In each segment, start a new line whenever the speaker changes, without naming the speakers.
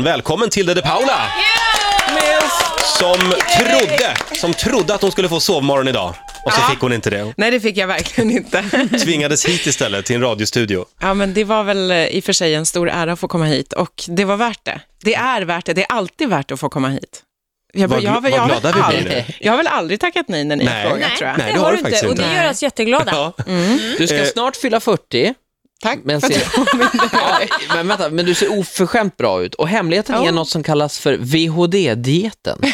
Välkommen Tilde de Paula! Som trodde, som trodde att hon skulle få sovmorgon idag. Och så
Ja.
fick hon inte det.
Nej, det fick jag verkligen inte.
Tvingades hit istället till en radiostudio.
Ja, men det var väl eh, i och för sig en stor ära att få komma hit och det var värt det. Det är värt det. Det är alltid värt att få komma hit. Jag,
Vad
jag, har
gl-
väl-
vad
jag, har väl
glada vi blir
aldrig-
nu.
jag har väl aldrig tackat nej när ni
Nej.
har frågat,
Nej,
tror jag.
Nej,
det har du inte. Och
faktiskt
det
inte.
gör oss jätteglada.
Ja.
Du ska
Eh.
snart fylla 40.
Tack
Men
för att
se-
du påminner
Ja, men vänta, men du ser oförskämt bra ut. Och hemligheten
Ja.
är något som kallas för VHD-dieten.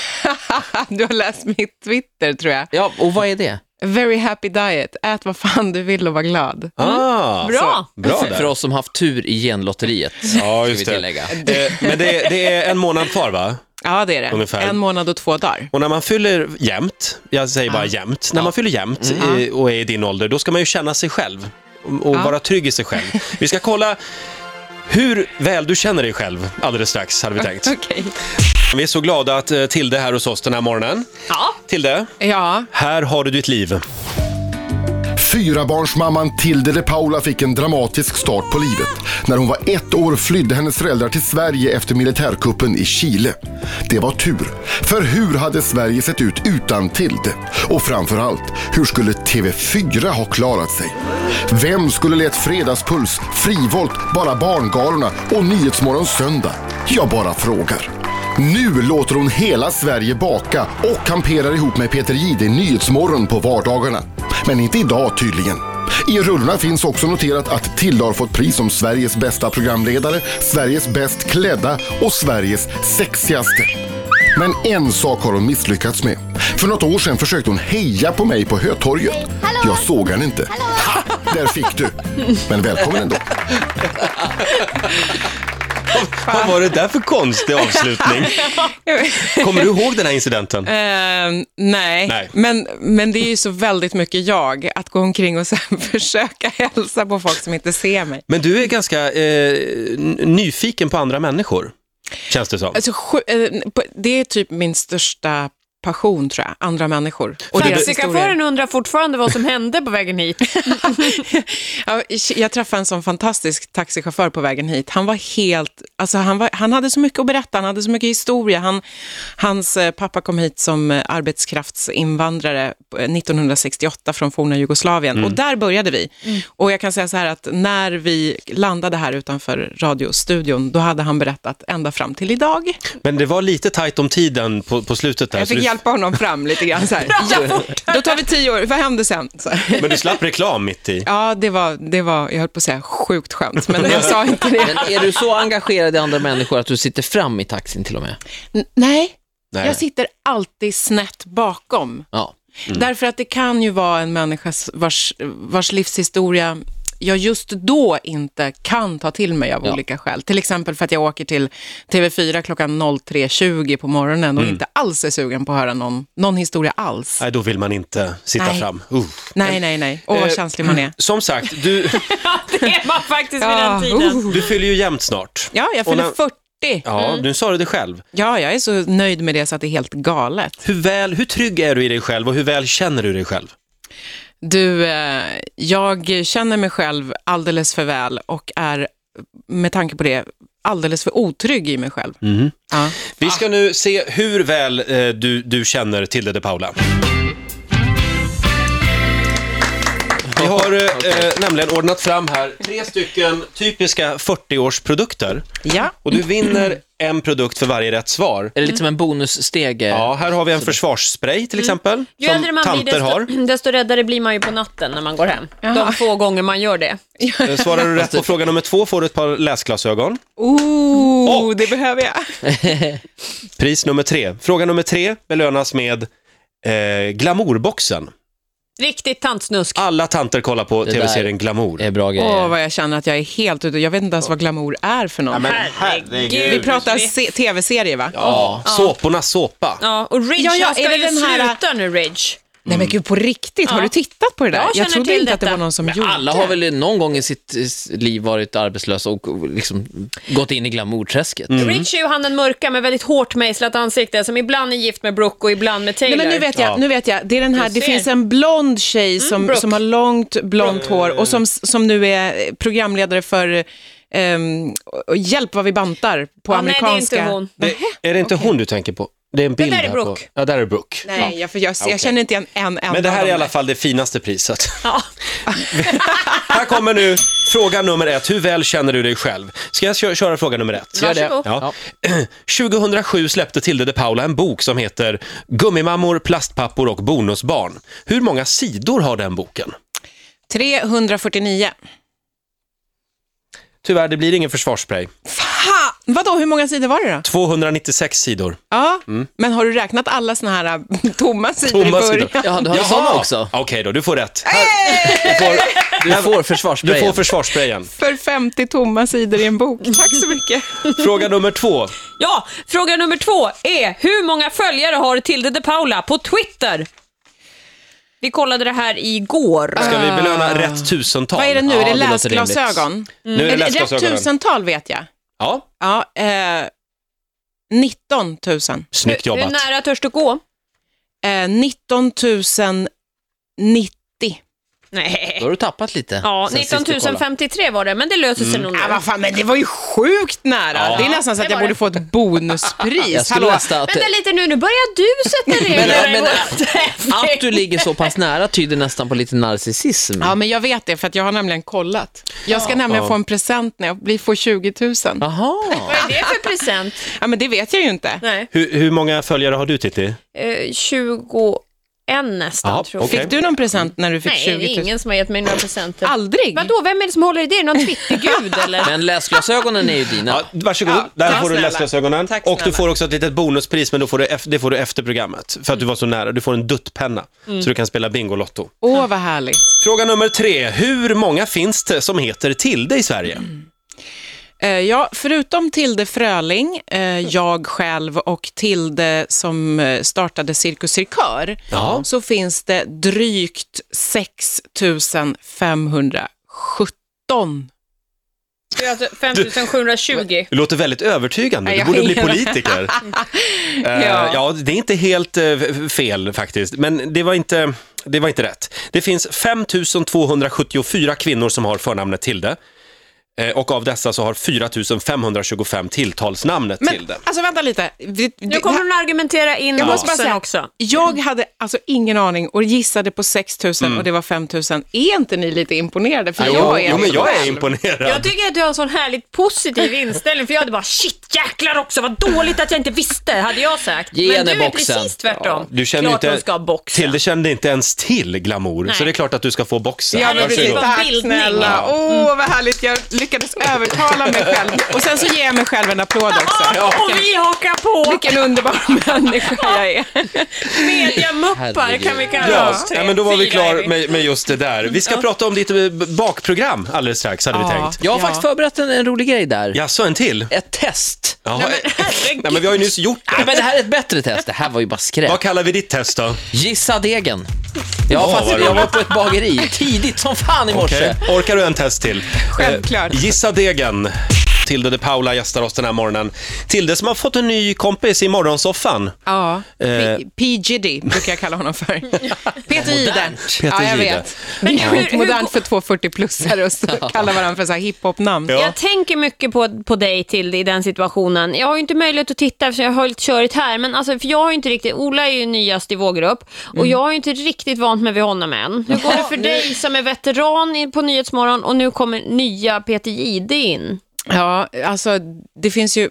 Du har läst mitt Twitter, tror jag.
Ja, och vad är det?
Very happy diet. Ät vad fan du vill och var glad.
Ah,
Bra!
bra
för, för
där.
oss som haft tur i genlotteriet,
Ja,
ska
just
vi
det.
tillägga.
Eh, Men det, det är en månad kvar va?
Ja, det är det.
Ungefär.
En månad och två dagar.
Och när man fyller jämt, jag säger bara jämt, när man fyller jämt eh, och är i din ålder, då ska man ju känna sig själv och, och
Ja.
vara trygg i sig själv. Vi ska kolla hur väl du känner dig själv alldeles strax, hade vi tänkt.
Okej.
Vi är så glada att eh, Tilde är här hos oss den här morgonen.
Ja.
Tilde,
Ja,
här har du ditt liv.
Fyrabarnsmamman Tilde de Paula fick en dramatisk start på livet. När hon var ett år flydde hennes föräldrar till Sverige efter militärkuppen i Chile. Det var tur. För hur hade Sverige sett ut utan Tilde? Och framförallt, hur skulle TV4 ha klarat sig? Vem skulle lett Fredagspuls, Frivolt, Bara Barngalorna och Nyhetsmorgon Söndag? Jag bara frågar. Nu låter hon hela Sverige baka och kamperar ihop med Peter Jihde i Nyhetsmorgon på vardagarna. Men inte idag tydligen. I rullorna finns också noterat att Tilde har fått pris som Sveriges bästa programledare, Sveriges bäst klädda och Sveriges sexigaste. Men en sak har hon misslyckats med. För något år sedan försökte hon heja på mig på Hötorget. Jag såg henne inte. Ha! Där fick du. Men välkommen ändå.
Vad var det där för konstig avslutning? Kommer du ihåg den här incidenten?
Ehm, nej,
Nej.
Men, men det är ju så väldigt mycket jag, att gå omkring och sen försöka hälsa på folk som inte ser mig.
Men du är ganska eh, n- nyfiken på andra människor, känns det som.
Alltså, sju- eh, på- det är typ min största passion, tror jag, andra människor. Och deras
Alltså,
historier.
Taxichauffören undrar fortfarande vad som hände på vägen hit.
Ja, Jag träffade en sån fantastisk taxichaufför på vägen hit. Han var helt, alltså han, var, han hade så mycket att berätta, han hade så mycket historia. Han, hans eh, pappa kom hit som eh, arbetskraftsinvandrare eh, 1968 från forna Jugoslavien och där började vi. Och jag kan säga så här att när vi landade här utanför radiostudion, då hade han berättat ända fram till idag.
Men det var lite tajt om tiden på, på slutet där.
Jag
så
fick
du,
hjälpa honom fram lite grann så här. Ja, då tar vi tio år, vad händer sen? Så här.
men du slapp reklam mitt i.
Ja, det var, det var, jag höll på att säga sjukt skönt, men jag sa inte det.
Men är du så engagerad i andra människor att du sitter fram i taxin till och med?
N- Nej,
Nej.
jag sitter alltid snett bakom.
Ja.
Därför att det kan ju vara en människa s- vars, vars livshistoria jag just då inte kan ta till mig av
Ja.
olika skäl. Till exempel för att jag åker till TV4 klockan 03.20 på morgonen och inte alls är sugen på att höra någon, någon historia alls.
Nej, då vill man inte sitta
Nej.
fram. Uh.
Nej, nej, nej. Åh, vad
Eh,
känslig man är.
Som sagt, du,
det är man faktiskt vid den
Ja,
tiden.
uh.
du fyller ju jämnt snart.
ja, Mm. jag
Och
fyller
när-
40.
Ja, nu sa du det själv.
Ja, jag är så nöjd med det så att det är helt galet.
Hur, väl, hur trygg är du i dig själv och hur väl känner du dig själv?
Du, eh, jag känner mig själv alldeles för väl och är med tanke på det alldeles för otrygg i mig själv.
Mhm.
Ja.
Ah.
Vi ska nu se hur väl eh, du, du känner Tilde de Paula. Vi har eh, eh, nämligen ordnat fram här tre stycken typiska 40-årsprodukter.
ja.
Och du vinner en produkt för varje rätt svar.
Är det lite som en eh, bonusstege?
Ja, här har vi en försvarsspray till exempel,
Mm. Ju äldre
som
man blir,
tanter har.
desto, desto räddare blir man ju på natten när man går hem. De få gånger man gör det.
Eh, Svarar du
Alltså-
rätt på fråga nummer två får du ett par läsglasögon.
Oh,
Och-
det behöver jag.
Pris nummer tre. Fråga nummer tre belönas med eh, glamourboxen.
Riktigt tantsnusk.
Alla tanter kollar på
där-
tv-serien Glamour.
Det är bra grejer.
Eh.
Åh, vad jag känner att jag är helt ute. Jag vet inte ens vad glamour är för något.
herregud.
Vi pratar se- tv-serier, va?
Ja, såpornas såpa.
Ja, och Ridge
Ja, ja,
han ska
är det
väl
den här-
sluta nu, Ridge?
Nej, men gud, på riktigt. Har
Ja.
du tittat på det där?
Jag känner
jag trodde
till
inte att det
detta.
var någon som gjorde.
Alla har väl någon gång i sitt eh, liv varit arbetslös och och liksom gått in i glamourträsket.
Mm.
Ridge är ju han den mörka med väldigt hårt mejslat ansikte som ibland är gift med Brooke och ibland med Taylor.
Nej, men nu vet jag,
Ja.
nu vet jag. Det, är den här,
Du
det
ser. Mm,
finns en blond tjej som,
Brooke. Mm.
som har långt blont hår och som, som nu är programledare för ehm, och- och hjälp vad vi bantar på
Ja, nej, det är
amerikanska.
inte hon.
Det, är det inte hon du tänker på? Det är en bild
där är
här
Brooke.
på... Ja, där är Brooke.
Nej, jag, för jag, jag känner inte igen en enda
Men det här
av
är i
dem.
alla fall det finaste priset.
Ja.
Här kommer nu fråga nummer ett. Hur väl känner du dig själv? Ska jag kö- köra fråga nummer ett?
Gör det.
Varsågod.
Ja. 2007 släppte Tilde de Paula en bok som heter Gummimammor, plastpappor och bonusbarn. Hur många sidor har den boken?
349.
Tyvärr, det blir ingen försvarsspray.
Fan! Vadå, hur många sidor var det då?
296 sidor.
Ja, men har du räknat alla såna här äh, tomma sidor
Mm. Tomma
i början?
sidor.
Ja, du har ju såna också.
Okej då, du får rätt. Här- Du får,
Du får
du
försvarsbrejen.
får försvarssprayen.
För 50 tomma sidor i en bok. Tack så mycket.
Fråga nummer två.
ja, fråga nummer två är hur många följare har Tilde de Paula på Twitter? Vi kollade det här igår.
Ska vi belöna rätt tusental?
Ah. Vad är det nu?
Ja,
är det
det låter
läsglasögon?
Nu är det
Är det rätt
läsglasögonen.
tusental vet jag.
Ja,
Ja, eh, 19 000.
snyggt
Hur
jobbat.
nära törs du gå?
Eh, 19 090.
Nej.
Då har du tappat lite.
Ja,
sen sist
19
du kollade.
053 var det, men det löser sig nog nu.
Ja, vad fan, men det var ju sjukt nära. Det är nästan så att
det
jag
var
borde få ett
Jag
bonuspris.
skulle
Hallå.
nästan att,
Vänta lite nu, nu börjar du sätta regler
men-
i vår tävling.
att du ligger så pass nära tyder nästan på lite narcissism.
Ja, men jag vet det, för att jag har nämligen kollat. Jag ska nämligen få en present när jag blir- får 20 000.
Jaha.
Vad är det för present?
Ja, men det vet jag ju inte.
Nej.
Hur, hur många följare har du, Titti?
Eh, 21 nästan,
Ja,
tror jag.
okej.
Fick du någon present när du fick
Nej,
20
det
000?
är ingen som har gett mig några presenter.
Aldrig?
Vadå, vem är det som håller i det? Är det någon Twittergud eller?
Men läsglasögonen är ju dina.
Ja, varsågod,
Ja,
där
tack
får du
snälla.
läsglasögonen.
Tack
Och du
snälla.
får också ett litet bonuspris, men då får du efter, det får du efter programmet. För att du
Mm.
var så nära. Du får en duttpenna, så du kan spela Bingolotto.
Åh, vad härligt.
Fråga nummer tre. Hur många finns det som heter Tilde i Sverige?
Eh, ja, förutom Tilde Fröling, eh,
Mm.
jag själv och Tilde som eh, startade Cirkus Cirkör,
Ja.
så finns det drygt 6 517.
Du är alltså 5720.
Du låter väldigt övertygande.
Nej,
Du
jag
borde
har
bli
ingen-
politiker. Eh,
Ja.
ja, det är inte helt eh, f- fel faktiskt, men det var inte, det var inte rätt. Det finns 5 274 kvinnor som har förnamnet Tilde. Eh, Och av dessa så har 4 525 tilltalsnamnet
Men
Tilde.
alltså vänta lite. Vi-
Nu
det-
kommer hon att argumentera in
Jag måste bara
boxen
säga-
också.
Jag hade alltså ingen aning och gissade på 6 000 och det var 5 000. Är inte ni lite imponerade? För jag är
Mm. jo, men
det
jag är
själv.
imponerad.
Jag tycker att du har en sån härligt positiv inställning för jag hade bara shit jäklar också vad dåligt att jag inte visste hade jag sagt.
Ge
Men
henne
du är
boxen.
precis tvärtom.
Du känner
Klart hon
inte,
ska ha boxen.
Tilde kände inte ens till glamour, så det är klart att du ska få boxen.
Ja, men
Varsågod.
precis. Tack
Bildning.
snälla. Åh, vad härligt. Jag lyckades övertala mig själv. Och sen så ger jag mig själv en applåd också.
Ja, Ah, och vi hakar på!
Vilken underbar människa jag är.
Mediamuppar kan vi kalla
Ja,
oss. typ.
ja, men då var vi
Fyra är
klara
vi.
med, med just det där. Vi ska prata om ditt eh, b- bakprogram alldeles strax, hade vi tänkt.
Jag har faktiskt förberett en, en rolig grej där.
Jaså, en till?
Ett test.
Jaha. Nej, men vi har ju nyss gjort
Nej,
det.
men det här är ett bättre test. Det här var ju bara skräp.
Vad kallar vi ditt test då?
Gissa degen. Jag, har
Åh,
faktiskt,
vad
jag var
roligt.
på ett bageri tidigt som fan i morse.
Okej. Orkar du en test till?
Självklart.
Eh, gissa degen. Tilde de Paula gästar oss den här morgonen. Tilde som har fått en ny kompis i morgonsoffan.
Ja,
Eh.
PGD brukar jag kalla honom för. Peter Jihde. Ja, jag
Jihde.
vet.
Men
Det är
hur-
sjukt
hur-
modernt för 240-plussare att stå- kalla varandra för så här hiphop-namn.
Ja.
Jag tänker mycket på, på dig till i den situationen. Jag har ju inte möjlighet att titta eftersom jag har lite körigt här. Men alltså, för jag har ju inte riktigt, Ola är ju nyast i vår grupp och
Mm.
jag har ju inte riktigt vant mig vid honom än. Hur går det för dig som är veteran i- på Nyhetsmorgon och nu kommer nya Peter Jihde in?
Ja, alltså det finns ju...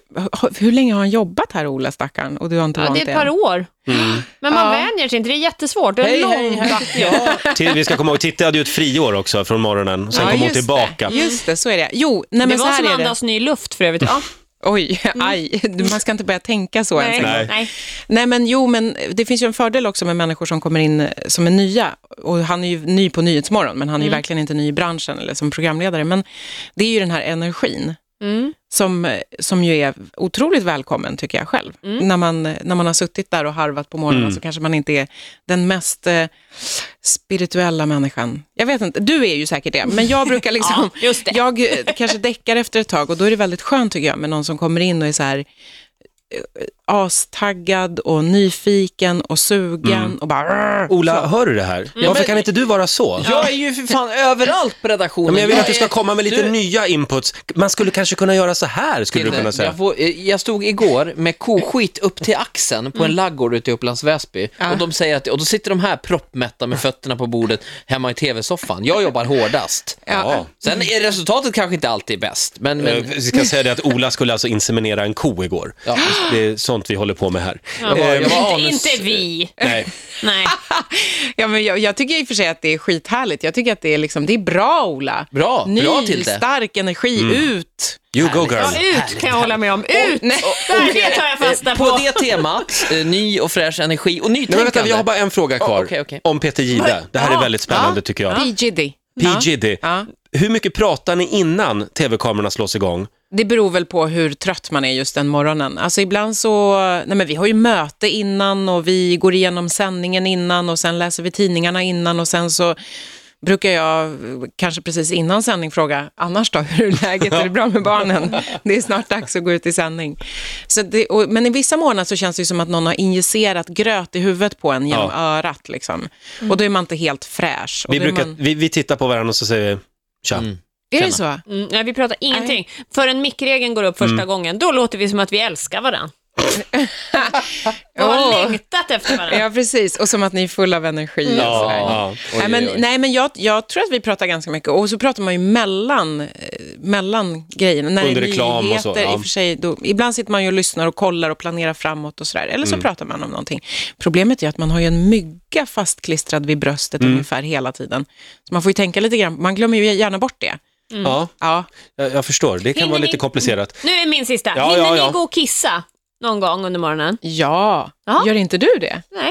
Hur länge har han jobbat här, Ola, stackarn? Och du har inte
Ja,
vant
det är ett par
än. Mm.
år. Men man
Ja.
vänjer sig inte, det är jättesvårt. Det är en
Hej,
lång
hej, hej.
backe.
Till, vi ska komma ihåg, Titti hade ju ett friår också från morgonen. Sen
Ja,
kom hon
just det.
tillbaka.
Just det, så är det. Jo, nej,
Det
men så
var
här
som
är det.
andas ny luft för övrigt. Ja.
Oj, aj, man ska inte börja tänka så ens. en gång.
Nej.
Nej.
Nej, men jo, men det finns ju en fördel också med människor som kommer in eh, som är nya. Och han är ju ny på Nyhetsmorgon, men han är
Mm.
ju verkligen inte ny i branschen eller som programledare. Men det är ju den här energin
Mm.
som, eh, som ju är otroligt välkommen, tycker jag själv.
Mm.
När, man, eh, när man har suttit där och harvat på morgonen så kanske man inte är den mest eh, spirituella människan. Jag vet inte, du är ju säkert det, men jag brukar liksom...
Ja, just det.
Jag eh, kanske däckar efter ett tag och då är det väldigt skönt, tycker jag, med någon som kommer in och är så här eh, astaggad och nyfiken och sugen
Mm.
och bara...
Ola, hör du det här? Varför kan inte du vara så?
Jag är ju för fan överallt på redaktionen.
Ja, men jag vill att du ska
är-
komma med lite
Du-
nya inputs. Man skulle kanske kunna göra så här, skulle du kunna säga.
Jag, får, eh, jag stod igår med koskit upp till axeln på en
Mm.
laggård ute i Upplands Väsby och, de säger att, och då sitter de här proppmätta med fötterna på bordet hemma i tv-soffan. Jag jobbar hårdast.
Ja.
Sen är resultatet kanske inte alltid bäst, men,
Eh,
men
Vi ska säga det att Ola skulle alltså inseminera en ko igår.
Ja.
Det är sånt vi håller på med här. Eh,
jag var, jag var
Inte,
anus...
inte vi.
Nej.
Nej.
Ja, men jag, jag tycker i och för sig att det är skithärligt. Jag tycker att det är, liksom, det är bra, Ola.
Bra,
Ny,
bra till det. Mm.
stark energi, ut.
You go girl.
Ja, ut kan jag hålla med om. Ut!
Nej.
Där, det tar jag fasta
Eh,
på.
Eh, På det temat, eh, ny och fräsch energi och
Nej, men
nytänkande.
vänta, vi har bara en fråga kvar.
Oh, okej, okej.
Om Peter Gide. Det här är
Ja.
väldigt spännande
Ja.
tycker jag.
P. Diddy.
P. Giddy.
Ja.
Hur mycket pratar ni innan tv-kamerorna slås igång?
Det beror väl på hur trött man är just den morgonen. Alltså ibland så, nej men vi har ju möte innan och vi går igenom sändningen innan och sen läser vi tidningarna innan och sen så brukar jag eh, kanske precis innan sändning fråga, annars då, hur är läget, är det bra med barnen? Det är snart dags att gå ut i sändning. Så det, och, men i vissa morgnar så känns det ju som att någon har injicerat gröt i huvudet på en genom örat. Liksom. Och då är man inte helt fräsch. Och
Mm. Vi,
då är,
brukar,
man,
vi, vi tittar på varandra och så säger vi tja.
är det så?
Mm, nej, vi pratar ingenting. Förrän mickregeln går upp första gången, då låter vi som att vi älskar varandra. Och har
Åh.
längtat efter varandra.
Ja, precis. Och som att ni är fulla av energi. och
Ja,
sådär.
ja.
Nej, men, nej, men jag, jag tror att vi pratar ganska mycket och så pratar man ju mellan, eh, mellan grejerna. När det är
Under reklam och så,
nyheter,
ja.
i och för sig, då, ibland sitter man ju och lyssnar och kollar och planerar framåt och sådär. Eller
Mm.
så pratar man om någonting. Problemet är att man har ju en mygga fastklistrad vid bröstet
Mm.
ungefär hela tiden. Så man får ju tänka lite grann, man glömmer ju gärna bort det.
Ja,
Ja.
jag, jag förstår. Det kan
Hinner
vara
ni-
lite komplicerat.
Nu är min sista.
Ja,
Hinner
ja, ja.
ni gå och kissa någon gång under morgonen?
Ja,
Ja.
gör inte du det?
Nej,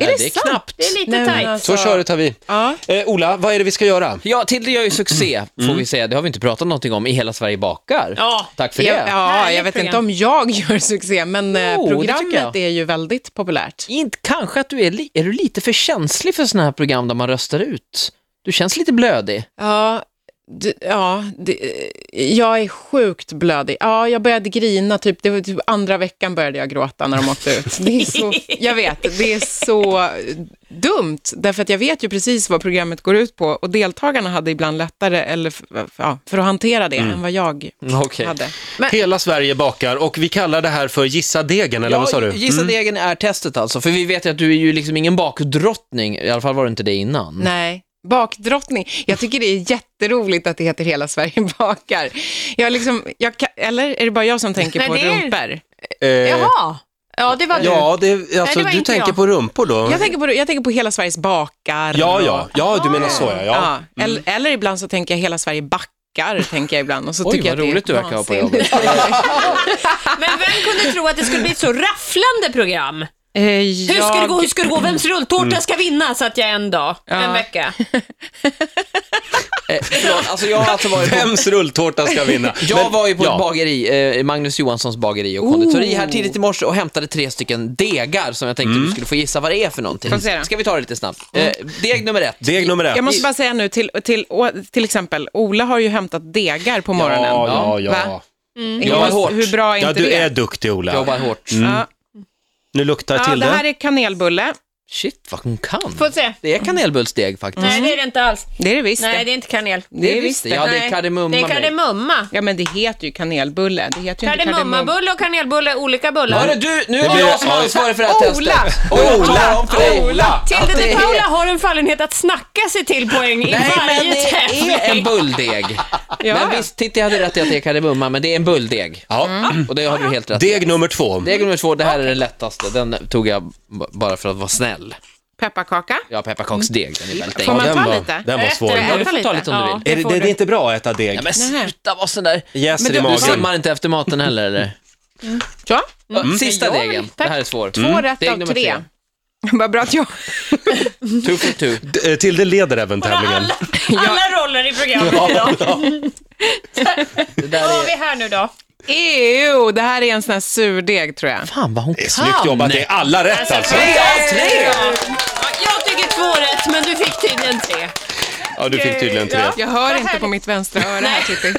Är
Nej,
det,
det är
sant?
knappt.
det är lite
Nej, men
tajt.
alltså-
Så köret har vi.
Ja.
Eh, Ola, vad är det vi ska göra?
Ja, Tilde gör ju succé, får
Mm.
vi säga. Det har vi inte pratat någonting om i Hela Sverige bakar.
Ja.
Tack för det.
Ja, ja,
Härligt
jag vet
program.
inte om jag gör succé, men eh,
Jo, det tycker
programmet
jag.
är ju väldigt populärt.
Inte, kanske att du är, li- är du lite för känslig för sådana här program där man röstar ut. Du känns lite blödig.
Ja, d- ja d- eh, jag är sjukt blödig. Ja, jag började grina, typ, det var typ andra veckan började jag gråta när de åkte ut. Det är så, jag vet, det är så dumt, därför att jag vet ju precis vad programmet går ut på och deltagarna hade ibland lättare eller, f- ja, för att hantera det
Mm.
än vad jag
Okej.
hade. Men,
Hela Sverige bakar och vi kallar det här för gissa degen, eller vad sa du?
Gissa degen är testet alltså, för vi vet ju att du är ju liksom ingen bakdrottning, i alla fall var du inte det innan.
nej. Bakdrottning. Jag tycker det är jätteroligt att det heter Hela Sverige bakar. Jag liksom, jag, ka- eller är det bara jag som tänker
Nej,
på
det är-
rumpor?
Eh,
Jaha. Ja, det var du.
Ja, det, alltså,
det var
du
inte
tänker
jag.
på rumpor då?
Jag tänker, på, jag tänker på hela Sveriges bakar.
Ja,
och-
ja, ja, du menar så ja. ja.
Ja,
Mm.
Eller, eller ibland så tänker jag hela Sverige backar, tänker jag ibland. Och så
Oj,
tycker
vad
jag att det är
roligt du verkar ha på
vansinnigt.
jobbet.
Men vem kunde tro att det skulle bli ett så rafflande program?
Eh,
Hur
jag-
ska det gå, hur ska det gå, vems
Mm.
rulltårta ska vinna? Satt jag en dag, en vecka.
Eh, förlåt, alltså jag har alltså varit på...
Vems rulltårta ska vinna?
Jag
Men-
var ju på
ja.
ett bageri, eh, Magnus Johanssons bageri och konditori här tidigt i morse och hämtade tre stycken degar som jag tänkte
Mm.
du skulle få gissa vad det är för någonting.
Får se då.
Ska vi ta det lite snabbt? Eh, deg nummer ett.
Deg nummer ett.
Jag måste bara säga nu, till, till, å- till exempel, Ola har ju hämtat degar på morgonen.
Ja, ja, ja.
Va?
Jag var hårt.
Hur bra är inte
Ja, du
det?
är duktig Ola.
Jobbar hårt.
Ja.
Nu luktar
Ja,
till
det
det.
här är kanelbulle.
Shit vad hon kan.
Får se.
Det är kanelbullsdeg faktiskt.
Nej, det är det inte alls.
Det är det
Mm.
visst
Nej,
det.
det är inte kanel.
Det är visst det.
Ja, det
Nej.
är kardemumma.
Det är
med.
kardemumma.
Ja, men det heter ju kanelbulle. Det heter ju inte kardemumma.
Kardemummabulle och kanelbulle, olika bullar.
Hörru du, nu är
blir-
det jag som är
ja.
ansvarig för det här
Ola!
testet. Och jag talar om för dig.
Ola!
att
Tilde
det
de
är-
Paula har en fallenhet att snacka sig till poäng i
Nej, men
varje
det är en
tävling.
bulldeg. Men visst, Titti hade rätt i att det är kardemumma, men det är en bulldeg. Mm.
Ja.
Och det har du helt rätt i.
Deg nummer två.
Deg nummer två, det här är den lättaste. Den tog jag b- bara för att vara snäll.
Pepparkaka.
Ja, pepparkaksdeg, den är väldigt
Får
enkel.
man
den
ta
var-
lite?
den var
Rätt
svår.
eller?
Ja, du får ta lite om du
Ja.
vill.
Är det, det, det är inte bra att äta deg.
Nej, men
Nej.
sluta vara sån där.
Jäser i
Men du-
Du
magen.
simmar inte efter maten heller, eller?
Mm.
Mm,
Ja.
Ja, Sista
Jag har
degen,
lite-
det här är svårt.
Två rätt
Deg
av
nummer
tre. Vad bra att jag...
Two for two.
D- eh, Tilde leder även tävlingen.
Alla, alla roller i programmet idag.
Det där
Vad har vi
är...
här nu då?
Ew, det här är en sån här surdeg tror jag.
Fan vad hon
Det är snyggt
kan.
jobbat, det är alla rätt alltså.
Tre
av tre!
Ja, Jag tycker två rätt, men du fick tydligen tre.
Ja, du fick tydligen tre.
Ja.
Jag hör
Vad
inte på
härligt.
mitt vänstra öra här, Titti.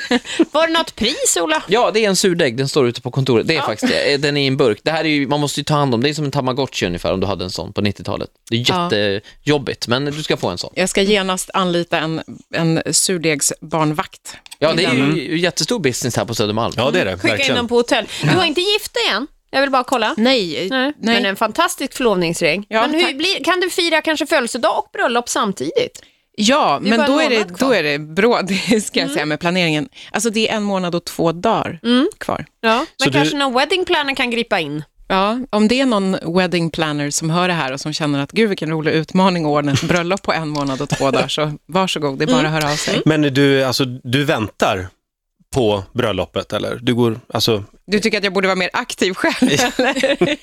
Var det något pris, Ola?
Ja, det är en surdeg. Den står ute på kontoret. Det är faktiskt det. Eh, Den är i en burk. Det här är ju, man måste ju ta hand om. Det är som en tamagotchi ungefär om du hade en sån på 90-talet. Det
Ja.
är jättejobbigt, men du ska få en sån.
Jag ska genast anlita en, en surdegsbarnvakt.
Ja, det är ju jättestor business här på Södermalm.
Ja, det är det.
Skicka in
Verkligen.
dem på hotell. Du var inte gift igen? Jag vill bara kolla.
Nej,
Nej.
nej.
Men eh, en fantastisk förlovningsring.
Ja,
men hur
tack.
blir, kan du fira kanske födelsedag och bröllop samtidigt?
Ja,
Det är bara
men då
en
är, det,
månad kvar. Mm.
då är det bra, det ska jag säga, med planeringen. Alltså det är en månad och två dagar kvar.
Ja. Men
Så du-
kanske någon wedding planner kan gripa in?
Ja, om det är någon wedding planner som hör det här och som känner att gud vilken rolig utmaning att ordna ett bröllop på en månad och två dagar, så varsågod, det är bara
Mm.
att höra av sig.
Men du, alltså, du väntar på bröllopet eller? Du går, alltså,
Du tycker att jag borde vara mer aktiv själv? eller?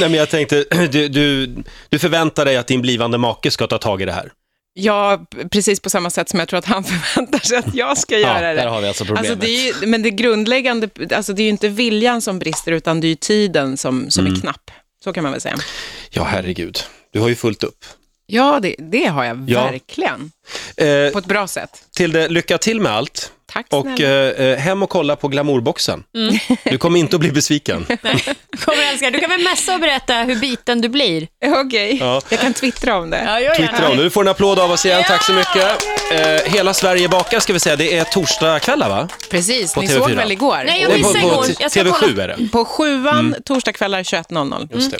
nej men jag tänkte, du, du, du förväntar dig att din blivande make ska ta tag i det här.
ja, precis på samma sätt som jag tror att han förväntar sig att jag ska
Ja,
göra det.
Där har vi alltså problemet.
Alltså det är ju, men det grundläggande, alltså det är ju inte viljan som brister, utan det är ju tiden som, som
Mm.
är knapp. Så kan man väl säga.
Ja, herregud. Du har ju fullt upp.
Ja, det, det har jag
Ja.
verkligen.
Eh,
På ett bra sätt.
till det, lycka till med allt.
Tack
Och
snälla.
eh, eh, hem och kolla på glamourboxen. Du kommer inte att bli besviken.
Kommer jag älska. Du kan väl messa och berätta hur biten du blir?
Okej,
Ja.
jag kan twittra om det.
gör
Twittra om det. Du får en applåd av oss igen. Tack så mycket. Eh, hela Sverige bakar ska vi säga. Det är torsdagskvällar va?
Precis, ni
TV4.
såg väl igår?
Nej, jag
Det är
missade
på, på
igår. Jag ska
TV7
kolla.
är det.
På sjuan, torsdagskvällar 21.00.
Just det.